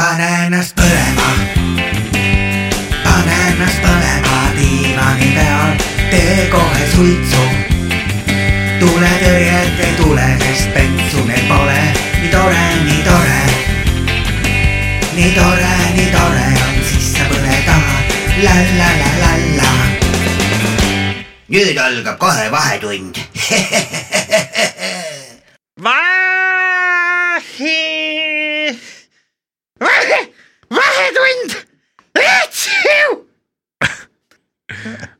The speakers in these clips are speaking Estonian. ennast põlema , pane ennast põlema diivani peal , tee kohe suitsu . tuletõrjet ei tule , sest bensu meil pole , nii tore , nii tore . nii tore , nii tore on sisse põleda , la la la la la . nüüd algab kohe vahetund . vahe , vahe , vahetund , etsiu .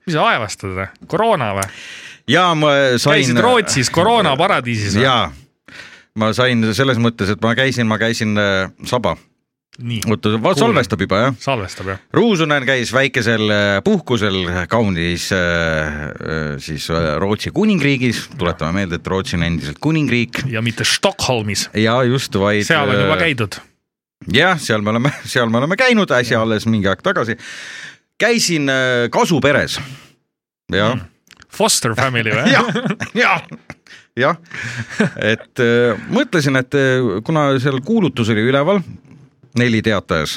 mis sa aevastad või ? koroona või ? ja ma sain . äh, käisid Rootsis koroonaparadiisis või ? ja ma sain selles mõttes , et ma käisin , ma käisin äh, saba , nii , oota , salvestab juba jah . salvestab jah . Ruusunen käis väikesel äh, puhkusel kaunis äh, äh, siis äh, Rootsi kuningriigis , tuletame meelde , et Rootsi on endiselt kuningriik ja mitte Stockholmis , ja just vaid . seal on äh, juba . käidud . jah , seal me oleme , seal me oleme käinud äsja alles mingi aeg tagasi . käisin äh, kasuperes . jah mm. , Foster family või ? jah , jah , jah , et äh, mõtlesin , et äh, kuna seal kuulutus oli üleval , neli teatajas ,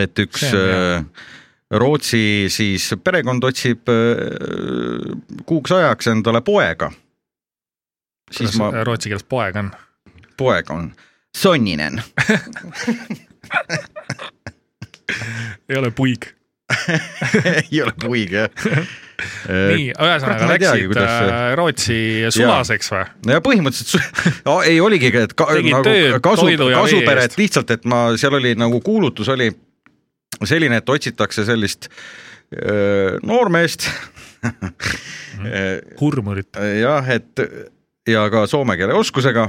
et üks See on hea. äh, Rootsi siis perekond otsib äh, kuuks ajaks endale poega . kuidas siis ma , rootsi keeles poeg on ? poeg on sonninen , ei ole puig . ei ole puig jah . nii , ühesõnaga Äh, ma ei teagi, läksid kuidas see- äh, Rootsi sulaseks või ? no ja põhimõtteliselt no, ei oligi , et ka, Tegid nagu tööd kasu toidu , ja vee kasuperet eest. lihtsalt , et ma seal oli nagu kuulutus oli selline , et otsitakse sellist öö, noormeest Mhm. hurmurit . jah , et ja ka soome keele oskusega ,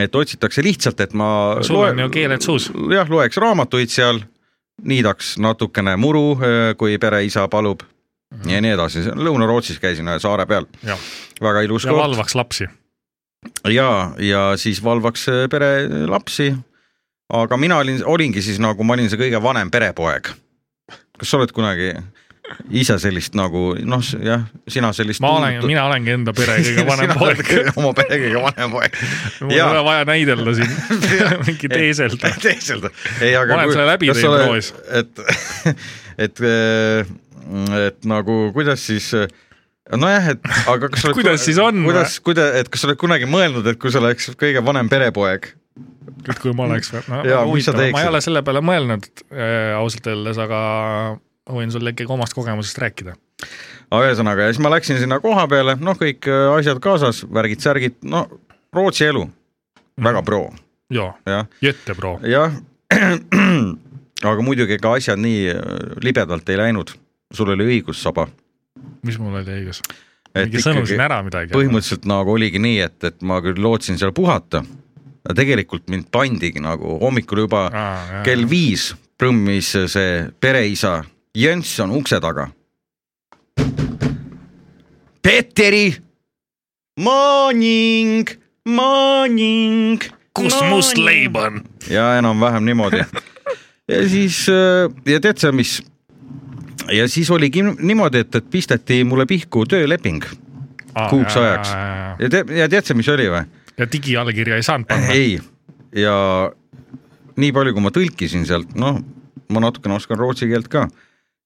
et otsitakse lihtsalt , et ma Mhm. sul on ju keeled suus . jah , loeks raamatuid seal , niidaks natukene muru , kui pereisa palub Mhm. ja nii edasi , Lõuna-Rootsis käisin ühe saare peal , ja väga ilus ja koht . valvaks lapsi . ja , ja siis valvaks äh, pere lapsi . aga mina olin , olingi siis nagu ma olin see kõige vanem perepoeg . kas sa oled kunagi ise sellist nagu noh , jah , sina sellist . ma olen , mina olengi enda pere kõige vanem poeg . oma pere kõige vanem poeg mul ei ole vaja näidelda siin mingi teeselda . teeselda . ei , aga . Ma olen selle läbi teinud loes. . et , et , et nagu kuidas siis , nojah , et aga kas sa oled . Kuidas siis on? kuidas , kuidas , et kas sa oled kunagi mõelnud , et kui sa oleks kõige vanem perepoeg , et kui ma oleks või no, ? Jaa, mis sa teeksid? ma ei ole selle peale mõelnud äh, ausalt öeldes , aga ma võin sulle ikkagi omast kogemusest rääkida . aga ühesõnaga ja siis ma läksin sinna koha peale , noh , kõik äh, asjad kaasas , värgid-särgid , no Rootsi elu , väga pro , jaa , jah , Jette Pro . jah . aga muidugi ega asjad nii äh, libedalt ei läinud , sul oli õigus , Saba . mis mul oli õigus ? Et mingi sõnum ikkagi- siin ära midagi . põhimõtteliselt nagu oligi nii , et , et ma küll lootsin seal puhata , aga tegelikult mind pandigi nagu hommikul juba ah, kell . viis prõmmis see pereisa Jönson ukse taga . Petteri , morning , morning . kus must leib on ? ja enam-vähem niimoodi . ja siis äh, ja tead sa , mis ja siis oligi niimoodi , et , et pisteti mulle pihku tööleping kuuks ajaks. ja te- ja tead sa , mis oli või ? ja digiallkirja ei saanud panna . ei , ja nii palju , kui ma tõlkisin sealt , noh , ma natukene oskan rootsi keelt ka ,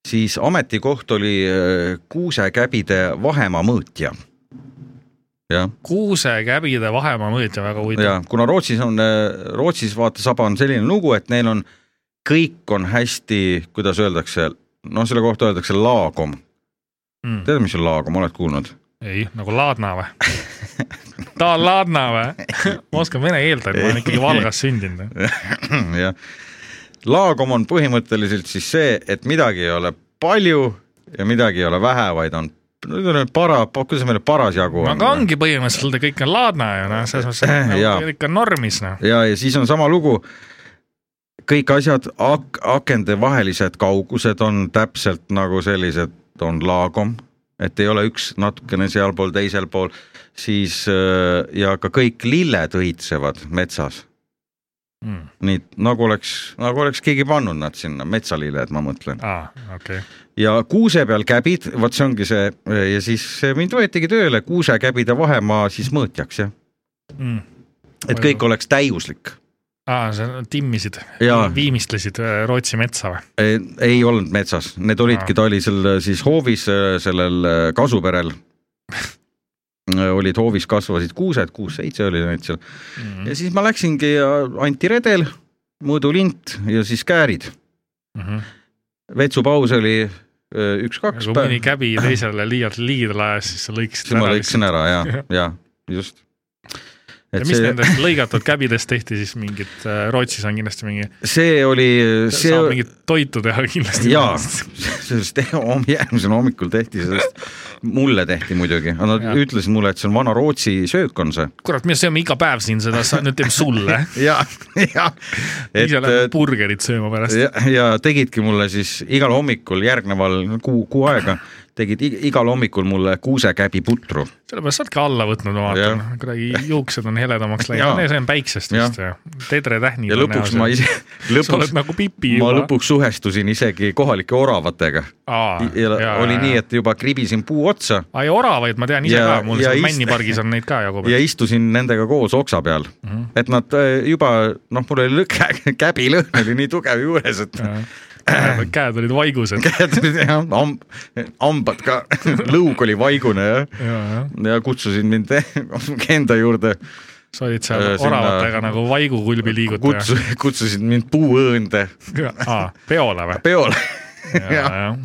siis ametikoht oli äh, kuusekäbide vahemaa mõõtja . jah , kuusekäbide vahemaa mõõtja , väga huvitav . ja kuna Rootsis on , Rootsis vaata saba on selline lugu , et neil on , kõik on hästi , kuidas öeldakse , noh , selle kohta öeldakse laagom . Mm. tead , mis on laagom , oled kuulnud ? ei , nagu Laadna või ? ta on Laadna või ? ma oskan vene keelt , et ma olen ikkagi Valgas sündinud . noh. Hmm, jah , laagom on põhimõtteliselt siis see , et midagi ei ole palju ja midagi ei ole vähe , vaid on no ütleme para , kuidas meil parasjagu no on . aga ongi põhimõtteliselt kõik on laadna ju noh , selles mõttes , et Jaa. nagu kõik on normis noh . ja , ja siis on sama lugu . kõik asjad ak- , akendevahelised kaugused on täpselt nagu sellised , on laagom , et ei ole üks natukene sealpool , teisel pool , siis äh, ja ka kõik lilled õitsevad metsas . Mm. nii nagu oleks , nagu oleks keegi pannud nad sinna , metsalilled , ma mõtlen . aa , okei okay. , ja kuuse peal käbid , vot see ongi see ja siis mind võetigi tööle kuusekäbide vahemaa siis mõõtjaks jah , mm. et kõik oleks täiuslik . aa , sa timmisid Jaa. , viimistlesid äh, Rootsi metsa või ? ei, ei olnud metsas , need olidki , ta oli seal siis hoovis , sellel äh, kasuperel olid hoovis , kasvasid kuused , kuus-seitse oli neid seal Mm. ja siis ma läksingi ja anti redel , mõõdu lint ja siis käärid . vetsupaus oli öö, Mhm. üks-kaks kui Nagu mõni päeva , käbi teisele liialt liidel ajas , siis sa lõikasid siis ma ära lõikasin lihtsalt. ära ja , ja just . ja et mis see... see , nendest lõigatud käbidest tehti siis mingit , Rootsis on kindlasti mingi , see oli , see saab mingit toitu teha kindlasti . jaa , sellest homm- järgmisel hommikul tehti sellest , mulle tehti muidugi , aga nad Jaa. ütlesid mulle , et see on vana Rootsi söök on see . kurat , me sööme iga päev siin seda , sa nüüd teeme sulle . ja , ja , et äh, ise lähme burgerit sööma pärast . ja , ja tegidki mulle siis igal hommikul järgneval kuu , kuu aega tegid ig- igal hommikul mulle kuusekäbi putru sellepärast sa oledki alla võtnud , ma vaatan Jah. , kuidagi juuksed on heledamaks läinud Jaa. , see on päiksest Jah. vist ju , Tedre tähnid . ja lõpuks ma ise , sa oled lõpuks , nagu pipi ma juba . lõpuks suhestusin isegi kohalike oravatega . ja oli nii , et juba kribisin puu otsa ai , oravaid ma tean ise Ja- ka , mul ja seal ist- männipargis on neid ka jagub . ja istusin nendega koos oksa peal mm , Mhm. -hmm. et nad äh, juba noh , mul oli lõke , käbilõhn oli nii tugev juures , et käed olid vaigused . käed olid jah , amb- , hambad ka , lõug oli vaigune ja , ja kutsusid mind enda juurde sa olid Öö, seal Äh, sinna- oravatega nagu vaigukulbi Kutsu, liigutaja . kutsusid mind puuõõnde peole või ? peole jah.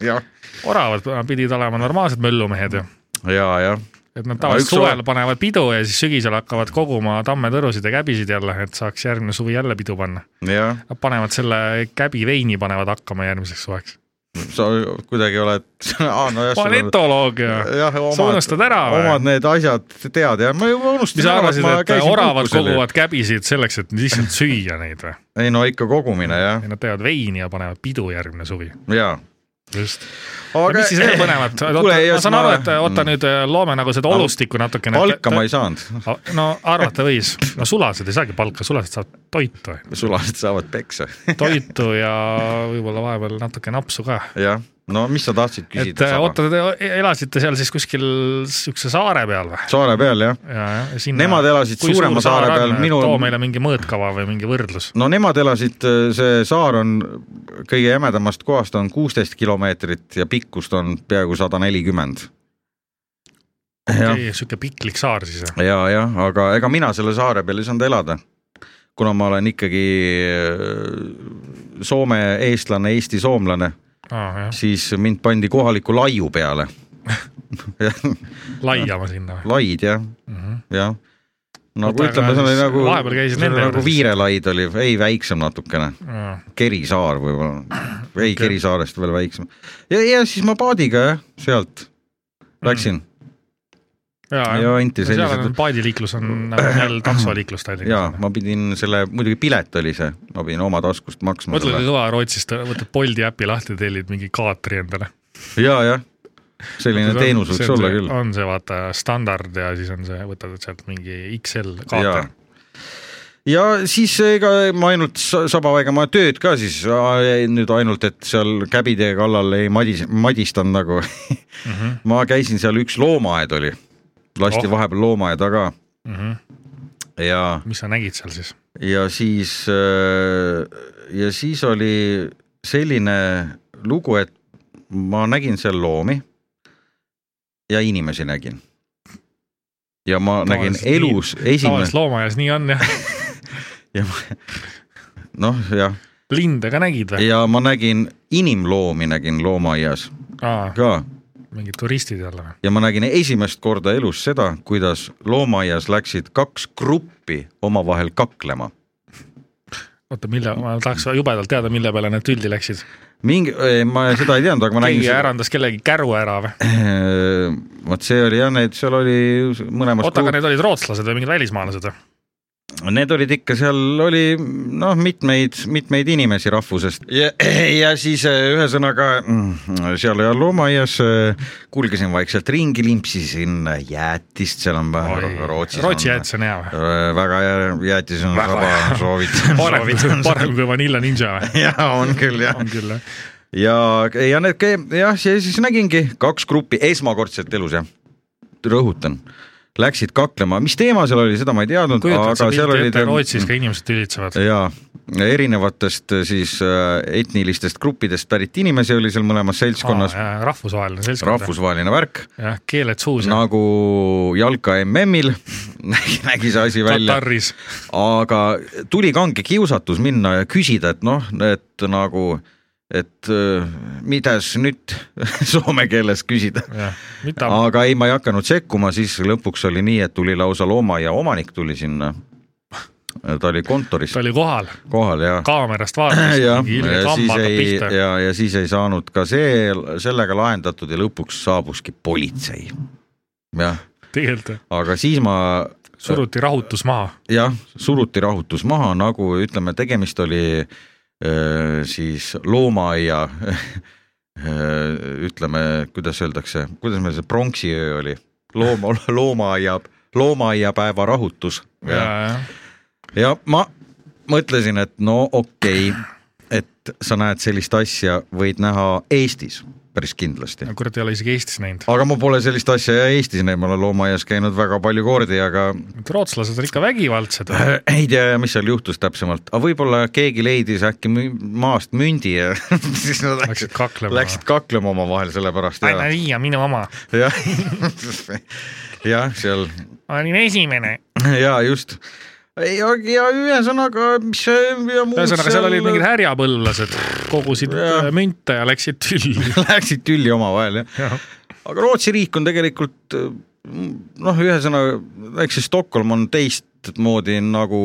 ja , oravad pidid olema normaalsed möllumehed ju , ja , jah . et nad Aga üks tavaliselt suvel orav- panevad pidu ja siis sügisel hakkavad koguma tammetõrusid ja käbisid jälle , et saaks järgmine suvi jälle pidu panna . jah , Nad panevad selle käbi veini panevad hakkama järgmiseks suveks . sa kuidagi oled ah, , nojah . ma olen etoloog ja sa unustad ära omad või ? need asjad tead ja ma juba unustasin . mis sa arvasid , et oravad koguvad ? käbisid selleks , et lihtsalt süüa neid või ? ei no ikka kogumine jah , Nad teevad veini ja panevad pidu järgmine suvi . ja . just . aga mis siis veel põnevat , ma saan aru , et oota . nüüd äh, loome nagu seda Aga olustikku natukene . mm, palka ma ei saanud , no arvata võis , no sulased ei saagi palka , sulased saavad toitu , sulased saavad peksa , toitu ja võib-olla vahepeal natuke napsu ka . jah . no mis sa tahtsid et küsida äh, ? oota , te elasite seal siis kuskil siukse saare peal või ? saare peal jah , ja , ja sinna . Nemad elasid suurema saare peal, minu- too meile mingi mõõtkava või mingi võrdlus . no nemad elasid , see saar on kõige jämedamast kohast on kuusteist kilomeetrit ja pikkust on peaaegu sada nelikümmend . jah , sihuke piklik saar siis või ? ja , jah , aga ega mina selle saare peal ei saanud elada , kuna ma olen ikkagi äh, Soome eestlane , Eesti soomlane , aa jah , siis mind pandi kohaliku laiu peale . laiama sinna või ? Mhm. laid jah , jah . nagu Oota, aga ütleme , see oli siis nagu , vahepeal käisid see oli nende nagu juures siis? Viirelaid oli , ei väiksem natukene , Kerisaar võib-olla , ei Kerisaarest veel väiksem . ja , ja siis ma paadiga jah , sealt läksin Mm, ja anti no seal sellised on paadiliiklus on nagu jälle taksoliiklus Tallinnas . ja ma pidin selle , muidugi pilet oli see , ma pidin oma taskust maksma mõtle , kui selle kõva Rootsist , võtad Bolti äpi lahti , tellid mingi kaatri endale . ja , jah , selline teenus võiks olla küll . on see vaata standard ja siis on see , võtad sealt mingi XL ja kaater ., ja siis ega ma ainult sa- sabaväega ma tööd ka siis äh, nüüd ainult , et seal käbitee kallal ei madis , madistanud nagu mm . Mhm, -hmm. ma käisin seal , üks loomaaed oli , Oh. lasti oh. vahepeal loomaaed taga Mm -hmm. ja , mis sa nägid seal siis ? ja siis äh, ja siis oli selline lugu , et ma nägin seal loomi ja inimesi nägin . ja ma nägin Tavaliselt nii- elus tavaliselt esimest , loomaaias nii on jah . noh jah linde ka nägid või ? ja ma nägin inimloomi , nägin loomaaias aa , ka mingid turistid jälle või ? ja ma nägin esimest korda elus seda , kuidas loomaaias läksid kaks gruppi omavahel kaklema . oota , mille , ma tahaks jubedalt teada , mille peale nad tülli läksid . mingi , ma seda ei teadnud , aga ma nägin keegi . ärandas kellegi käru ära või ? vot see oli jah , need seal oli mõlemas oota , aga need olid rootslased või mingid välismaalased või ? need olid ikka , seal oli noh , mitmeid , mitmeid inimesi rahvusest ja, ja siis eh, ühesõnaga mm, seal ja loomaaias eh, kulgesin vaikselt ringi , limpsisin jäätist , seal on Äh, Rootsis . Rootsi jäätis on hea või ? Äh, väga hea jäätis on saba , soovitan . parem , parem kui Vanilla Ninja või ? ja on Äh, küll jah on . küll jah . ja , ja need käi- jah , siis nägingi kaks gruppi esmakordselt elus jah , rõhutan , läksid kaklema , mis teema seal oli , seda ma ei teadnud , kujutad sa aga pilti seal olid Mm. ette , Rootsis ka inimesed tülitsevad . jaa , erinevatest siis äh, etnilistest gruppidest pärit inimesi oli seal mõlemas seltskonnas , rahvusvaheline seltskond . rahvusvaheline värk , jah , keeled suus ja nagu jalka MM-il nägi, nägi see asi välja , Kataris . aga tuli kange kiusatus minna ja küsida , et noh , et nagu , et äh, mitäs nüüd soome keeles küsida . mida aga ei , ma ei hakanud sekkuma , siis lõpuks oli nii , et tuli lausa loomaaia omanik tuli sinna . ta oli kontoris ta oli kohal , kohal ja kaamerast vaatas . jah , ilge ja siis kammaga ei pihta . ja , ja siis ei saanud ka see , sellega lahendatud ja lõpuks saabuski politsei . jah , tegelikult aga siis ma suruti rahutus maha . jah , suruti rahutus maha , nagu ütleme , tegemist oli öö, siis loomaaia öö, ütleme , kuidas öeldakse , kuidas meil see pronksiöö oli , looma , loomaaia , loomaaiapäeva rahutus ja , ja , ja ma mõtlesin , et no okei okay, , et sa näed sellist asja , võid näha Eestis päris kindlasti . kurat ei ole isegi Eestis näinud . aga ma pole sellist asja Eestis näinud , ma olen loomaaias käinud väga palju kordi , aga rootslased on ikka vägivaldsed . äh, ei tea , mis seal juhtus täpsemalt , aga võib-olla keegi leidis äkki mü- maast mündi ja siis nad Läksid läksid , kaklema . läksid kaklema omavahel sellepärast anna ja , viia minu oma . jah , jah , seal ma olin esimene . ja just ja , ja ühesõnaga , mis see ja muud ühesõnaga , seal olid mingid härjapõllased , kogusid Jah. äh, münte ja läksid tülli . Läksid tülli omavahel jah Jah. ja. , aga Rootsi riik on tegelikult noh , ühesõnaga eks see Stockholm on teistmoodi nagu ,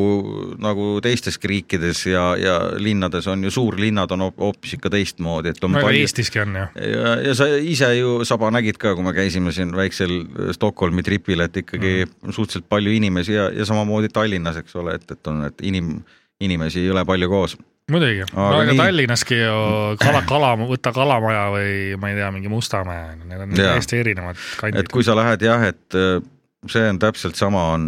nagu teisteski riikides ja , ja linnades on ju suurlinnad on hoop- hoopis ikka teistmoodi , et on no aga palju Eestiski on ju . ja , ja sa ise ju , Saba , nägid ka , kui me käisime siin väiksel äh, Stockholmi tripil , et ikkagi mm. suhteliselt palju inimesi ja , ja samamoodi Tallinnas , eks ole , et , et on , et inim- , inimesi ei ole palju koos . muidugi , no Aga aga nii- Tallinnaski ju kala , kala , võta Kalamaja või ma ei tea , mingi Mustamäe , need on Jaa. täiesti erinevad et kandid . kui sa lähed jah , et öö, see on täpselt sama , on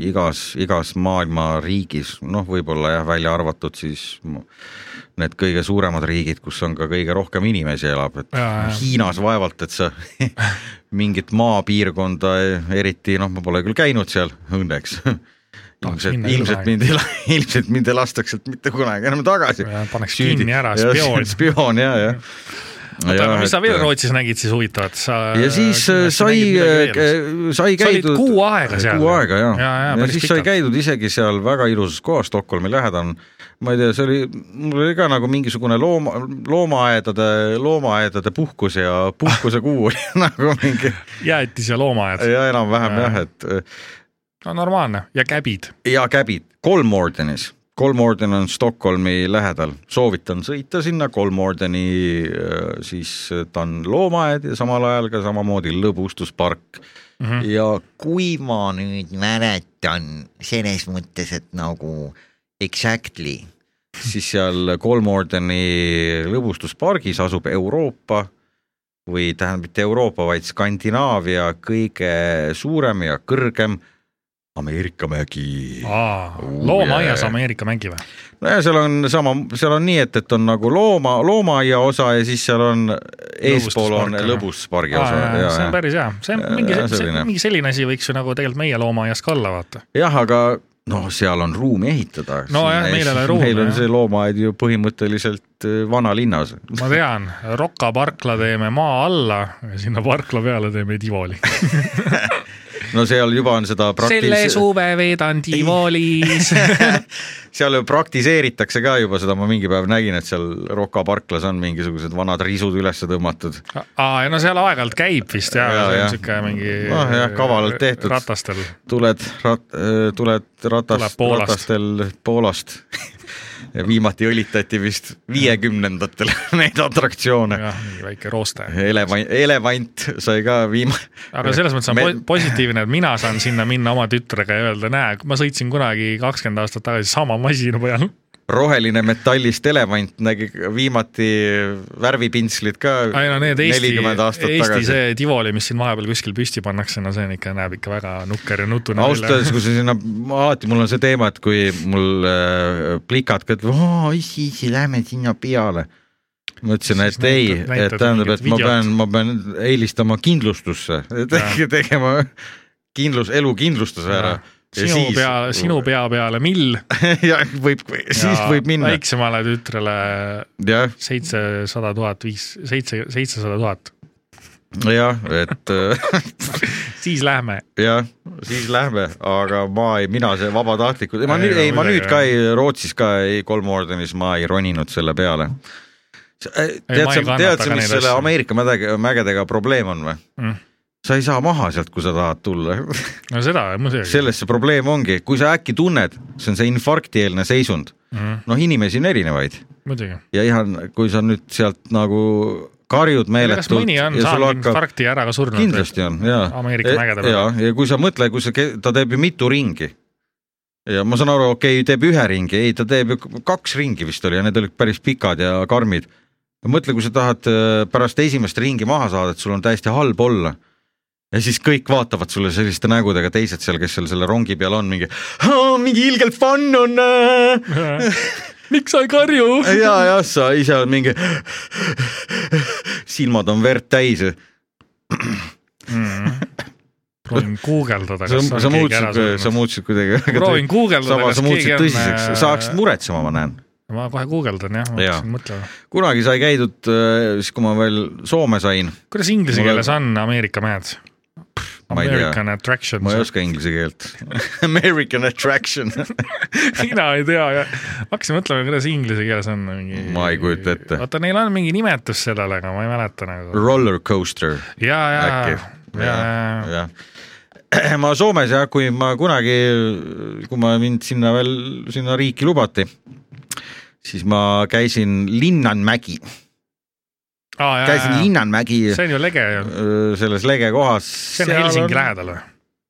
igas , igas maailma riigis , noh , võib-olla jah , välja arvatud siis mu- need kõige suuremad riigid , kus on ka kõige rohkem inimesi elab , et Jaa, jaa. Hiinas vaevalt , et sa mingit maapiirkonda eriti , noh , ma pole küll käinud seal õnneks . minna ilmselt , ilmselt kunagi. mind ei , ilmselt mind ei lastaks sealt mitte kunagi enam tagasi Jaa, . paneks kinni ära, spioon. spioon ja , ja . oota , aga mis sa äh, veel Rootsis nägid siis huvitavat , sa . ja siis äh, sai , sai Sa olid käidud . kuu aega seal. kuu aega ja, Jaa, jaa, päris siis sai pikalt. käidud isegi seal väga ilusas kohas , Stockholmi lähedal . ma ei tea , see oli , mul oli ka nagu mingisugune looma , loomaaedade , loomaaedade puhkus ja puhkuse kuu oli nagu mingi jäetis ja loomaaiad , ja enam-vähem jah , et äh, no normaalne ja käbid . ja käbid Kolmordenis , Kolmorden on Stockholmi lähedal , soovitan sõita sinna , Kolmordeni äh, siis äh, ta on loomaaed ja samal ajal ka samamoodi lõbustuspark mm . Mhm. -hmm. ja kui ma nüüd mäletan selles mõttes , et nagu exactly siis seal Kolmordeni lõbustuspargis asub Euroopa või tähendab mitte Euroopa , vaid Skandinaavia kõige suurem ja kõrgem Ameerika mägi . Ah. loomaaias Ameerika mängi või ? nojah , seal on sama , seal on nii , et , et on nagu looma , loomaaia osa ja siis seal on eespool on Lõbustuspark, jah. lõbustuspargi osa ja, see on ja. . päris hea , see on Jaa, mingi jaa, , selline. mingi selline asi võiks ju nagu tegelikult meie loomaaias ka olla , vaata . jah , aga noh , seal on ruumi ehitada . Nojah, meil ei ole ruumi, meil on jah. see loomaaed ju põhimõtteliselt eh, vanalinnas . ma tean , Rocca parkla teeme maa alla , sinna parkla peale teeme tivoli . no seal juba on seda selle praktilis- , suve veedan tivolis . seal ju praktiseeritakse ka juba seda , ma mingi päev nägin , et seal Rocca parklas on mingisugused vanad risud üles tõmmatud . aa , ja no seal aeg-ajalt käib vist ja, Jaa, ja , see jah. on siuke mingi . Noh, jah, kavalalt tehtud. ratastel . tuled rat- , tuled Tuleb ratast , Poolast. ratastel Poolast ja viimati õlitati vist viiekümnendatel neid atraktsioone . jah , mingi väike rooste . elevant , elevant sai ka viima- . aga selles mõttes on Me- Me... positiivne , et mina saan sinna minna oma tütrega ja öelda , näe , ma sõitsin kunagi kakskümmend aastat tagasi sama masina peal . roheline metallist elevant nägi viimati värvipintslid ka ei no need Eesti , nelikümmend aastat Eesti tagasi. tagasi . see tivoli , mis siin vahepeal kuskil püsti pannakse , no see on ikka , näeb ikka väga nukker ja nutune ausalt öeldes , kui sa sinna , alati mul on see teema , et kui mul äh, plikad ka ütlevad , oo issi , issi , lähme sinna peale . ma ütlesin , Siis et ei , näitad- näitad et tähendab , mingit et ma videot. pean , ma pean eelistama kindlustusse , tegema kindlus , elu kindlustas ära . sinu pea , sinu . pea peale mill ja võib , siis ja võib minna , väiksemale tütrele jah , seitsesada tuhat viis , seitse , seitsesada tuhat , jah , et äh, siis lähme . jah , siis lähme , aga ma ei , mina see vabatahtlikult , ma Ei, nüüd , ei , ma midagi, nüüd ka ei , Rootsis ka ei , kolm ordenis ma ei roninud selle peale . tead Ei, ma ei sa , kannata tead sa , ka mis neid selle asju. Ameerika mädega , mägedega probleem on või Mm. mm. ? sa ei saa maha sealt , kui sa tahad tulla . no seda muidugi . selles see probleem ongi , kui sa äkki tunned , see on see infarktieelne seisund , noh , inimesi on erinevaid Mm, muidugi . ja ihan , kui sa nüüd sealt nagu karjud kas meeletult mõni ja on sul saanud hakkab infarkti ja ära ka surnud ? kindlasti on ja Ameerika mägede peal. ja , ja kui sa mõtle , kui sa , ta teeb ju mitu ringi . ja ma saan aru , okei okay, , teeb ühe ringi , ei , ta teeb ju k- kaks ringi vist oli ja need olid päris pikad ja karmid . mõtle , kui sa tahad äh, pärast esimest ringi maha saada , et sul on täiesti halb olla . ja siis kõik vaatavad sulle selliste nägudega , teised seal , kes seal selle rongi peal on , mingi "Aa, mingi ilgelt fun on äh. . miks sa ei karju ? ja , ja sa ise oled mingi , silmad on verd täis . proovin guugeldada , sa kas , sa on keegi ära muutsid , sa surnud . muutsid kuidagi . proovin guugeldada , samas kas sa keegi muutsid on . äh, tõsiseks , sa hakkasid muretsema , ma näen . ma kohe guugeldan jah , ma Jaa. hakkasin mõtlema . kunagi sai käidud , siis kui ma veel Soome sain , kuidas inglise Mul- keeles on Ameerika mehed ? Ma ei tea. American attraction , ma ei oska inglise keelt . American attraction , mina ei tea ja hakkasin mõtlema , kuidas inglise keeles on mingi . Ma ei kujuta ette. oota , neil on mingi nimetus sellele , aga ma ei mäleta nagu . roller coaster ja , ja , äkki ja , ja , jah . ma Soomes jah , kui ma kunagi , kui ma mind sinna veel , sinna riiki lubati , siis ma käisin Linnanmägi , ja . käisin Linnanmägi Ah. see on ju lege ju , öö, selles lege kohas . see on Helsingi on... . lähedal või ?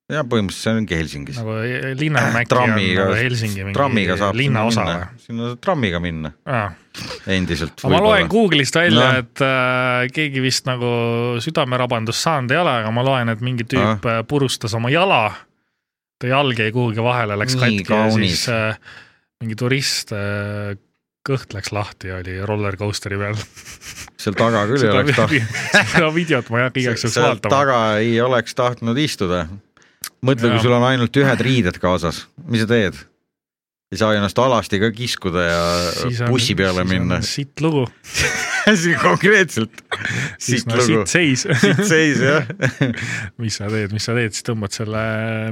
jah , põhimõtteliselt see ongi Helsingis . nagu Linnamägi on Äh, Trammiga- nagu Helsingi mingi trammiga saab linnaosa sinna või minna. ? sinna saab trammiga minna aa , endiselt . aga ma loen Google'ist välja No. no. , et äh, keegi vist nagu südamerabandust saanud ei ole , aga ma loen , et mingi Noh. tüüp äh. purustas oma jala . ta jalg jäi kuhugi vahele , läks Nii katki ja kaunis. siis äh, mingi turist äh, kõht läks lahti ja oli roller coaster'i peal . seal taga küll ei seda oleks tahtnud , seda videot ma ei hakka igaks juhuks seal vaatama . taga ei oleks tahtnud istuda . mõtle , Jaa. kui sul on ainult ühed riided kaasas , mis sa teed ? ei saa ennast alasti ka kiskuda ja bussi peale minna . sitt lugu , konkreetselt . siis siit no lugu sitt , seis siit seis jah . mis sa teed , mis sa teed , siis tõmbad selle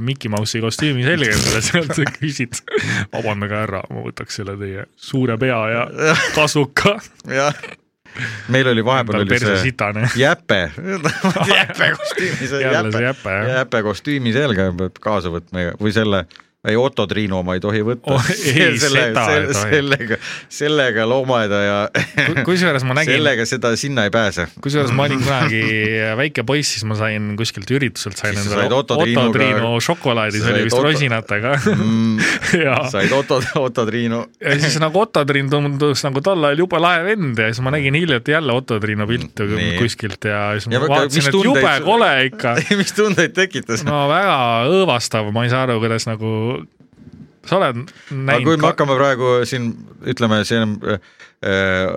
Mickey Mouse'i kostüümi selga endale , sealt sa küsid , vabandage härra , ma võtaks selle teie suure pea ja kasuka . jah . meil oli tal vahepeal oli perse see sitane . jäpe , jäpe kostüümi , see jälle jäpe see . jäpe jah . jääpe kostüümi selga peab kaasa võtma ja- või selle , ei Otto Triinu oma ei tohi võtta Oh, ei, seda ei selle, tohi. sellega , sellega loomaeda ja kusjuures ma nägin , sellega seda sinna ei pääse . kusjuures ma olin kunagi väike poiss , siis ma sain kuskilt ürituselt sain Siis sa endale said Otto Otto Triinuga- Triinu šokolaadi , sa see said oli vist Otto- rosinatega Mm, ja said Otto , Otto Triinu ja siis nagu Otto Triin tundus nagu tol ajal jube lahe vend ja siis ma nägin hiljuti jälle Otto Triinu pilte Nii. kuskilt ja siis ma Ja väga- mis vaatasin , et tundeid jube sul- kole ikka mis tundeid tekitas no, ? no väga õõvastav , ma ei saa aru , kuidas nagu , sa oled aga kui näinud me ka... , hakkame praegu siin , ütleme , see on äh,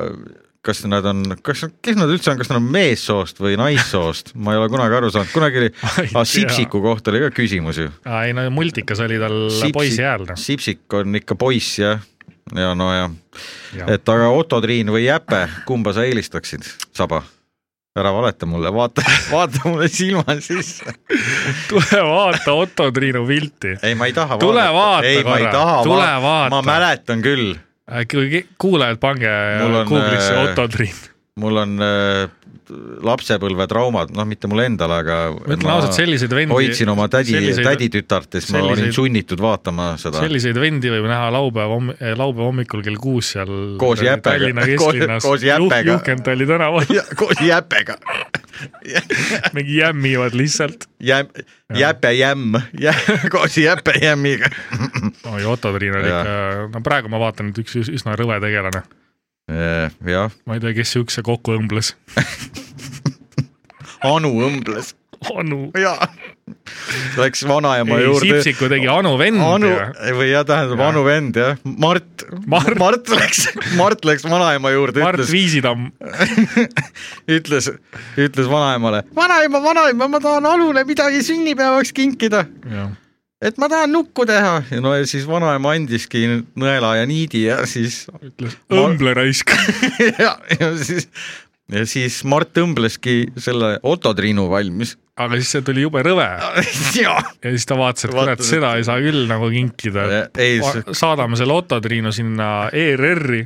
kas nad on , kas , kes nad üldse on , kas nad on meessoost või naissoost , ma ei ole kunagi aru saanud , kunagi oli , Ma ei tea. Sipsiku kohta oli ka küsimus ju . ei no multikas oli tal Sipsik- poisi hääl noh . Sipsik on ikka poiss jah , ja no ja , Jah. et aga Otto Triin või Jäpe , kumba sa eelistaksid , Saba ? ära valeta mulle , vaata , vaata mulle silma sisse . tule vaata Otto Triinu pilti . ei , ma ei taha Tule vaata ei , ma ei korra, taha tule ma vaata. mäletan küll , Äh, kuulajad , pange Mul on, Google'isse äh, Otto Triin . mul on äh, lapsepõlvetraumad , noh , mitte mul endal , aga ma ütlen ausalt , selliseid vendi , hoidsin oma tädi , selliseid- täditütart ja siis ma olin selliseid- sunnitud vaatama seda selliseid vendi võib näha laupäeva homm- , laupäeva hommikul kell kuus seal Koos jäpega. Tallinna Koos- kesklinnas koos jäpega. Juhkentali tänaval , Ja- koos Jäpega , mingi jämmivad lihtsalt . Jä- , Jäpe jämm , koos Jäpe jämmiga . oi , Otto Triin oli Jaa. ikka , no praegu ma vaatan , et üks üs- üsna rõve tegelane . Eh, jah ma ei tea , kes siukse kokku õmbles . Anu õmbles . Anu . jaa . Läks vanaema ei , juurde . Sipsiku tegi Anu vend Anu ja või jah , tähendab Jah. Anu vend jah , Mart, Mart. Mart. , Mart läks , Mart läks vanaema juurde , Mart ütles , Viisitamm . ütles , ütles vanaemale , vanaema , vanaema , ma tahan Anule midagi sünnipäevaks kinkida , et ma tahan nukku teha ja no ja siis vanaema andiski nõela ja niidi ja siis õmble raisk . ja, ja siis ja siis Mart õmbleski selle Otto triinu valmis . aga siis see tuli jube rõve jaa , ja siis ta vaatas , et Vaatas, kurat , seda ei saa küll nagu kinkida . ei see- saadame selle Otto Triinu sinna E ERR-i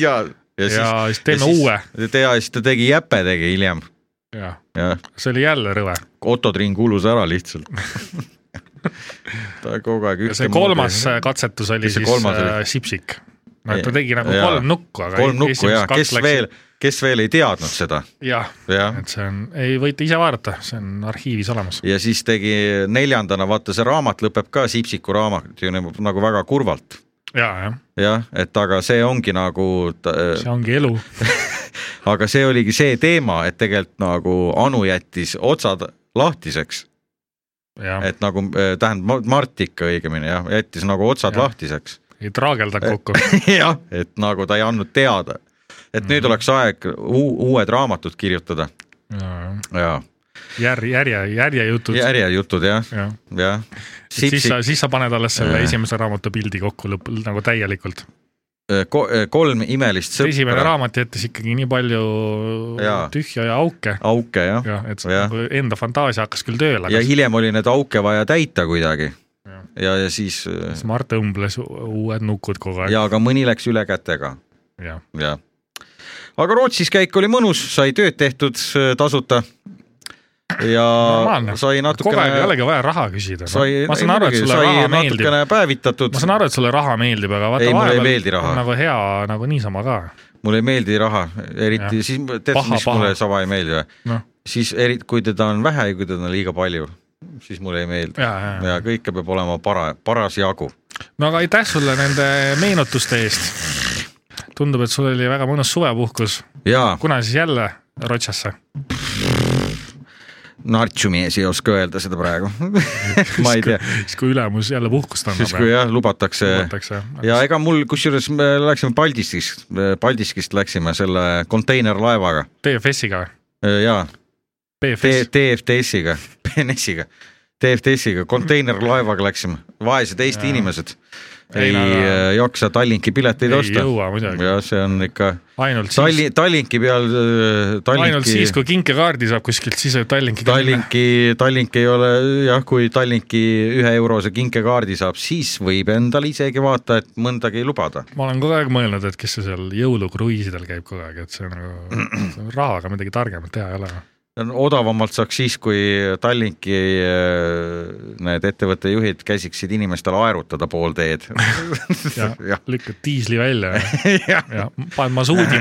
jaa . ja ja siis teeme uue . ja siis ta tegi jäpe tegi hiljem , jah , jah see oli jälle rõve . Otto Triin kulus ära lihtsalt . ta kogu aeg ja see kolmas moodi... katsetus oli Mis see siis kolmas oli? äh, sipsik . no et ta tegi nagu Jaa. kolm nukku , aga kolm nukku esimesed ja kaks kes läksid- veel , kes veel ei teadnud seda , jah , jah . et see on , ei võite ise vaadata , see on arhiivis olemas . ja siis tegi neljandana , vaata see raamat lõpeb ka Sipsiku raamat ju nagu nagu väga kurvalt , ja , jah , jah , et aga see ongi nagu , see ongi elu . aga see oligi see teema , et tegelikult nagu Anu jättis otsad lahtiseks , jah , et nagu äh, tähendab Ma- Mart ikka õigemini jah , jättis nagu otsad Jah. ja. lahtiseks . ei traagelda kokku . jah , et nagu ta ei andnud teada . et nüüd Mhm. oleks aeg uu- uued raamatud kirjutada ja järje , järje , järjejutud . järjejutud jah , jah , jah . siis sa , siis sa paned alles selle Jaa. esimese raamatu pildi kokku lõpp , nagu täielikult . Äh, kolm imelist esimene sõpra , raamat jättis ikkagi nii palju Jaa. tühja ja auke , auke jah , jah , et see Jah. nagu enda fantaasia hakkas küll tööle , ja aga siis hiljem oli need auke vaja täita kuidagi . Jah. ja , ja siis äh, siis Mart õmbles u- uued nukud kogu aeg . ja aga mõni läks üle kätega , jah , jah . aga Rootsis käik oli mõnus , sai tööd tehtud äh, tasuta ja Normaalne. sai kogu aeg ei natukene , olegi vaja raha küsida . sai , ma saan aru , et sulle sai raha meeldib , natukene päevitatud ma , saan aru , et sulle raha meeldib , aga vaata Ei, mulle ei vahepeal meeldi raha. on nagu hea nagu niisama ka . mulle ei meeldi raha , Jah. eriti siis , tead Paha, mis paha. mulle sama ei meeldi või ? noh , siis eriti , kui teda on vähe ja kui teda on liiga palju , siis mulle ei meeldi . ja , ja , ja ja . kõike peab olema para- , parasjagu . no aga aitäh sulle nende meenutuste eest . tundub , et sul oli väga mõnus suvepuhkus . jaa , kuna siis jälle Rotsasse ? nartsumees ei oska öelda seda praegu . ma ei tea , siis kui ülemus jälle puhkust siis kui annab . jah , lubatakse . ja ega mul , kusjuures me läksime Paldiskist , Paldiskist läksime selle konteinerlaevaga TFS-iga või ? jaa , BFS , TFTS-iga , PNS-iga , TFTS-iga , konteinerlaevaga läksime , vaesed Eesti Jaa. inimesed Ei, ei no aga- äh, jaksa Tallinki pileteid ei osta jõua muidugi. ja see on ikka ainult siis , Talli- , Tallinki peal , ainult Tallinki siis ,, kui kinkekaardi saab kuskilt , siis võib Tallinki kinni . Tallinki , Tallink ei ole jah , kui Tallinki ühe eurose kinkekaardi saab , siis võib endale isegi vaata , et mõndagi lubada . ma olen kogu aeg mõelnud , et kes see seal jõulukruiisidel käib kogu aeg , et see on nagu , rahaga midagi targemat teha ei ole . odavamalt saaks siis , kui Tallinki äh, need ettevõtte juhid käsiksid inimestele aerutada pool teed . ja Jah. lükkad diisli välja ja, ja paned masuudi ,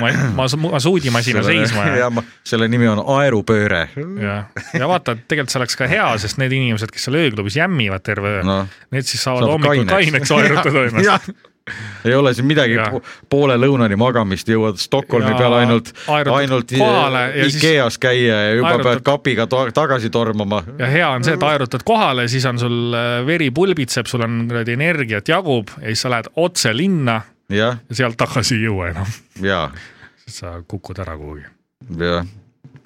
masuudimasina seisma ja , ja ma , selle nimi on aerupööre . ja , ja vaata , tegelikult see oleks ka hea , sest need inimesed , kes seal ööklubis jämmivad terve öö no, , noh , need siis saavad saab hommikul kaineks aerutada ennast . ennast . ei ole siin midagi Jah. po- poole lõunani magamist , jõuad Stockholmi Ja peale ainult , aerutad ainult kohale ja siis Ikeas käia ja juba aerutad- aerutad. pead kapiga to tagasi tormama . ja hea on see , et aerutad kohale , siis on sul äh, veri pulbitseb , sul on kuradi energiat jagub ja siis sa lähed otse linna jah , ja sealt tagasi ei jõua enam , ja , sest sa kukud ära kuhugi , ja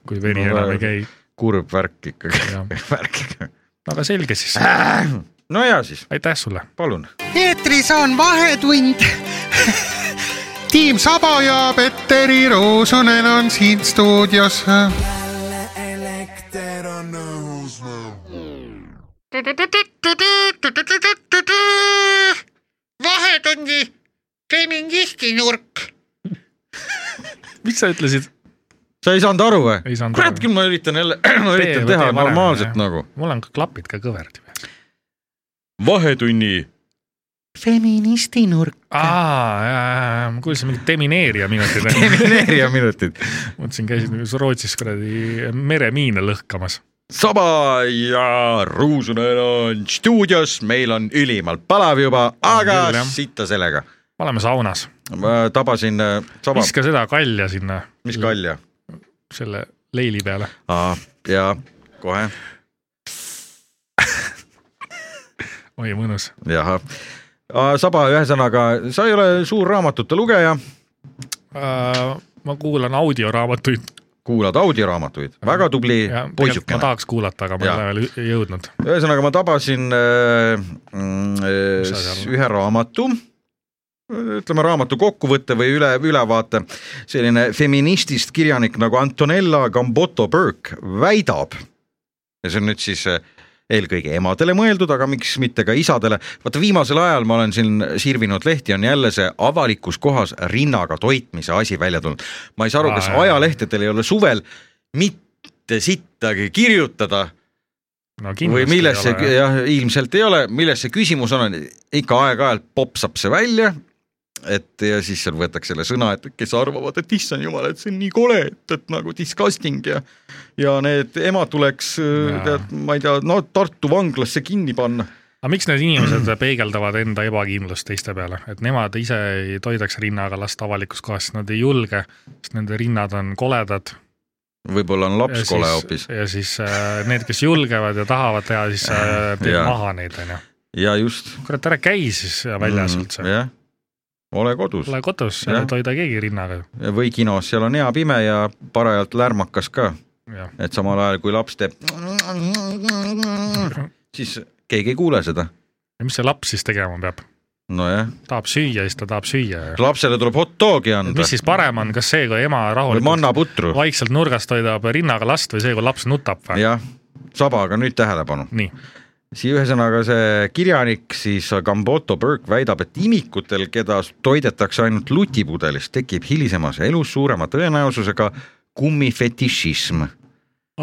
kui veri No no, enam väga- ei käi . kurb värk ikkagi Jah. , värk ikka . aga selge siis , no ja siis , aitäh sulle . palun . eetris on Vahetund . tiim Saba ja Petteri Roosonen on siin stuudios . vahetundi feministi nurk . mis sa ütlesid ? sa ei saanud aru või Ei saanud ? kurat aru. küll , ma üritan jälle , ma üritan või teha tee varem, jah. normaalselt nagu . mul on ka klapid ka kõverad juba . vahetunni . feministinurk . aa , ja , ja , ja , ma kuulsin mingit demineerija minutit . mineerija minutid . mõtlesin , käisid nagu Rootsis kuradi meremiine lõhkamas . Saba ja Ruusunen on stuudios , meil on ülimalt palav juba , aga küll, jah. sitta sellega . oleme saunas , ma tabasin äh, Saba , viska seda kalja sinna mis kalja selle leili peale . ah, . ja kohe oi mõnus , jahah . Saba , ühesõnaga , sa ei ole suur raamatute lugeja , Äh, ma kuulan audioraamatuid kuulad audioraamatuid , väga tubli ja tegelikult ma poisukene . tahaks kuulata , aga ma ei Jaa. ole veel ü- jõudnud . ühesõnaga , ma tabasin äh, mm, Mis äh, asja? ühe raamatu , ütleme raamatu kokkuvõtte või üle , ülevaate , selline feministist kirjanik nagu Antonella Gambotto Burke väidab , ja see on nüüd siis äh, eelkõige emadele mõeldud , aga miks mitte ka isadele , vaata viimasel ajal ma olen siin sirvinud lehti , on jälle see avalikus kohas rinnaga toitmise asi välja tulnud . ma ei saa aru , kas Aa, jah. ajalehtedel ei ole suvel mitte sittagi kirjutada no või kindlasti milles see ei ole . jah , ilmselt ei ole , milles see küsimus on , ikka aeg-ajalt popsab see välja , et ja siis seal võetakse selle sõna , et kes arvavad , et issand jumal , et see on nii kole , et , et nagu disgusting ja ja need emad tuleks , Jaa. tead , ma ei tea , no Tartu vanglasse kinni panna . aga miks need inimesed peegeldavad enda ebakindlust teiste peale , et nemad ise ei toidaks rinnaga last avalikus kohas , sest nad ei julge , sest nende rinnad on koledad . võib-olla on laps kole hoopis . ja siis äh, need , kes julgevad ja tahavad teha , siis äh, teeb Jaa. maha neid , onju . ja just . kurat , ära käi siis väljas üldse . Mm, jah , ole kodus ole kodus , Jah. ära toida keegi rinnaga . või kinos , seal on hea pime ja parajalt lärmakas ka , jah , et samal ajal kui laps teeb , siis keegi ei kuule seda . ja mis see laps siis tegema peab ? nojah tahab süüa , siis ta tahab süüa ju . lapsele tuleb hot dogi anda mis siis parem on , kas see , kui ema või rahulikult mannaputru , vaikselt nurgas toidab rinnaga last või see , kui laps nutab või ? jah , sabaga nüüd tähelepanu . nii , siis ühesõnaga see kirjanik siis äh, Gamboto Burke väidab , et imikutel , keda toidetakse ainult lutipudelist , tekib hilisemas elus suurema tõenäosusega kummifetišism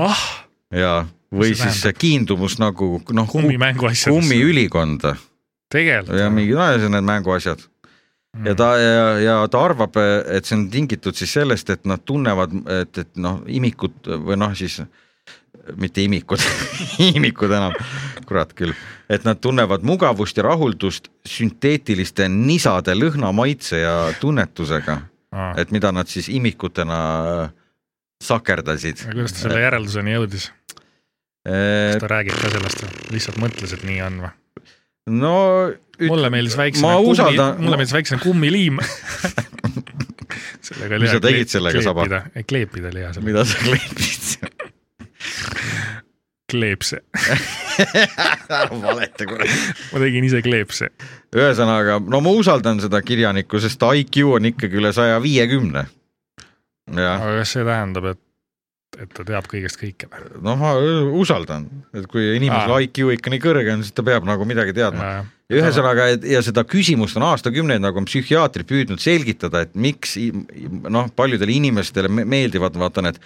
ah , ja , või Mis see siis see kiindumus nagu noh , kummimängu asjad . kummiülikonda ja tegelikult , Mm. mingid asjad , need mänguasjad . ja ta ja, ja ta arvab , et see on tingitud siis sellest , et nad tunnevad , et , et noh , imikud või noh , siis mitte imikud , imikud enam , kurat küll , et nad tunnevad mugavust ja rahuldust sünteetiliste nisade lõhna , maitse ja tunnetusega , aga et mida nad siis imikutena äh, sakerdasid . Äh, kuidas ta selle järelduseni jõudis ? kas ta räägib ka sellest või ? lihtsalt mõtles , et nii on või ? no üt- , mulle meeldis väiksem ma usaldan- kummi , mulle meeldis väiksem kummiliim . sellega oli Mis hea sa tegid kleep- sellega, Saba? kleepida. ei kleepida oli hea selle , mida sa kleepsid , kleepse . valeta kurat . ma tegin ise kleepse . ühesõnaga , no ma usaldan seda kirjanikku , sest ta IQ on ikkagi üle saja viiekümne . jah , aga kas see tähendab , et , et ta teab kõigest kõike või ? no noh, ma usaldan , et kui inimesel Aa. IQ ikka nii kõrge on , siis ta peab nagu midagi teadma . ja ühesõnaga , et ja seda küsimust on aastakümneid nagu psühhiaatrid püüdnud selgitada , et miks i- noh , paljudele inimestele me- meeldivad vaata need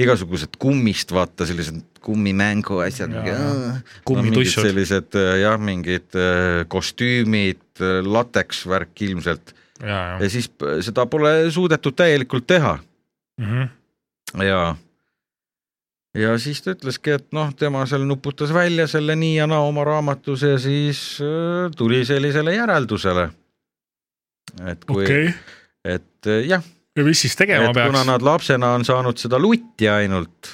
igasugused kummist vaata sellised kummimängu asjad Jaa. no, . kummitussud. sellised äh, jah , mingid äh, kostüümid , lateks värk ilmselt , ja , ja ja siis p- seda pole suudetud täielikult teha Mhm. ja ja siis ta ütleski , et noh , tema seal nuputas välja selle nii ja naa oma raamatus ja siis äh, tuli sellisele järeldusele . et kui okay. , okei , et äh, jah , ja mis siis tegema et kuna peaks ? nad lapsena on saanud seda lutti ainult ,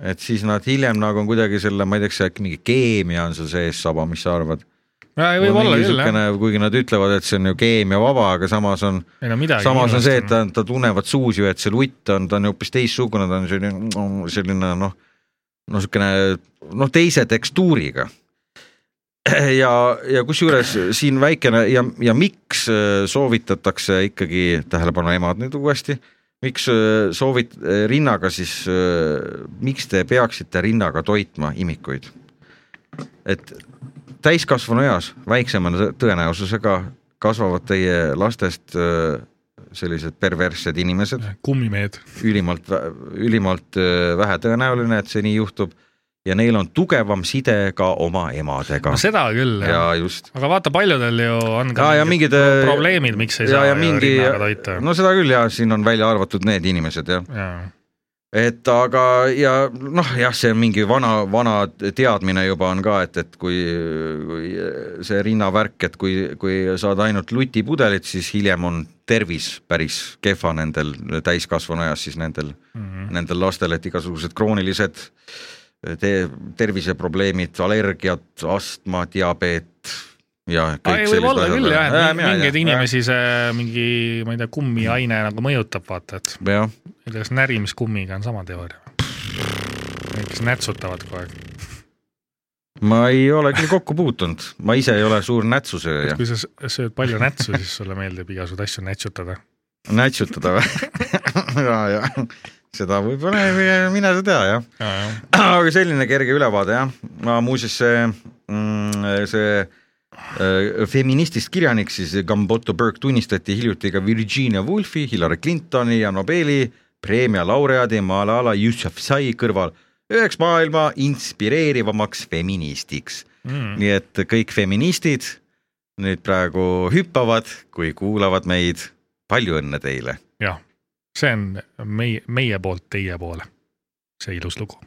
et siis nad hiljem nagu on kuidagi selle , ma ei tea , kas see äkki mingi keemia on seal sees , Saba , mis sa arvad ? võib-olla küll jah , kuigi nad ütlevad , et see on ju keemiavaba , aga samas on ei no midagi . samas on see , et ta , ta tunnevad suus ju , et see lutt on , ta on ju hoopis teistsugune , ta on selline , selline noh , no niisugune noh , teise tekstuuriga . ja , ja kusjuures siin väikene ja , ja miks äh, soovitatakse ikkagi , tähelepanu emad nüüd uuesti , miks äh, soovit- , rinnaga siis , miks te peaksite rinnaga toitma imikuid ? et täiskasvanu eas väiksema tõ- tõenäosusega kasvavad teie lastest öö, sellised perverssed inimesed , kummimehed , ülimalt , ülimalt öö, vähetõenäoline , et see nii juhtub ja neil on tugevam side ka oma emadega no seda küll ja jah , just . aga vaata , paljudel ju on ka ja , ja mingid mingid öö, probleemid , miks ei ja- saa ja ju mingi- rinnaga toita no. . no seda küll ja siin on välja arvatud need inimesed jah , et aga ja noh , jah , see on mingi vana , vana teadmine juba on ka , et , et kui , kui see rinnavärk , et kui , kui saad ainult lutipudelit , siis hiljem on tervis päris kehva nendel täiskasvanu eas siis nendel Mm -hmm. nendel lastel , et igasugused kroonilised te- terviseprobleemid , allergiad , astma , diabeet ja kõik Äh, ei , võib olla küll jah , et mi- mingeid inimesi . inimesi see mingi , ma ei tea , kummiaine nagu mõjutab , vaata , et jah , ma ei tea , kas närimiskummiga on sama teooria või ? kes nätsutavad kogu aeg , ma ei ole küll kokku puutunud , ma ise ei ole suur nätsusööja et . kui sa s- sööd palju nätsu , siis sulle meeldib igasuguseid asju nätsutada . nätsutada või ? ja , ja seda võib-olla ei- mine sa tea jah , aga selline kerge ülevaade jah , ma muuseas see mm, , see äh, feministist kirjanik siis Gamboto Burke tunnistati hiljuti ka Virginia Woolfi , Hillary Clintoni ja Nobeli preemia laureaadi Malala Yousafzai kõrval üheks maailma inspireerivamaks feministiks . Mm. nii et kõik feministid nüüd praegu hüppavad , kui kuulavad meid , palju õnne teile . jah , see on meie , meie poolt teie poole , see ilus lugu .